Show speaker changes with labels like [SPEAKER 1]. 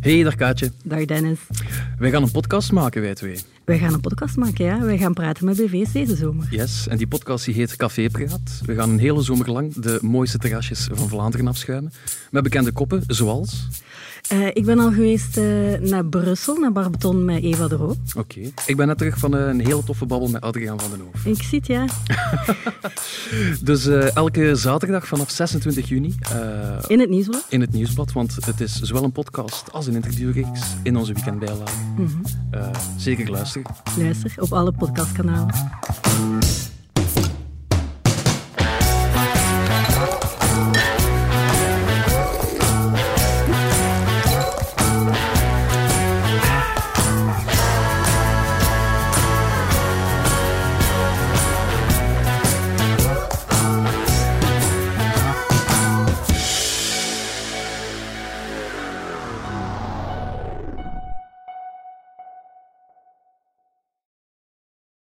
[SPEAKER 1] Hey, daar Kaatje.
[SPEAKER 2] Dag Dennis.
[SPEAKER 1] Wij gaan een podcast maken, wij twee.
[SPEAKER 2] Wij gaan een podcast maken, ja. Wij gaan praten met BV's deze zomer.
[SPEAKER 1] Yes, en die podcast die heet Café Praat. We gaan een hele zomer lang de mooiste terrasjes van Vlaanderen afschuimen. Met bekende koppen, zoals...
[SPEAKER 2] Eh, ik ben al geweest eh, naar Brussel, naar Barbeton met Eva de Roo.
[SPEAKER 1] Oké, ik ben net terug van eh, een hele toffe babbel met Adriaan van den Hoof.
[SPEAKER 2] Ik zie het, ja.
[SPEAKER 1] Dus eh, elke zaterdag vanaf 26 juni eh,
[SPEAKER 2] In het nieuwsblad.
[SPEAKER 1] in het nieuwsblad, want het is zowel een podcast als een interviewreeks in onze weekendbijlage. Eh, zeker luisteren.
[SPEAKER 2] Luister, op alle podcastkanalen.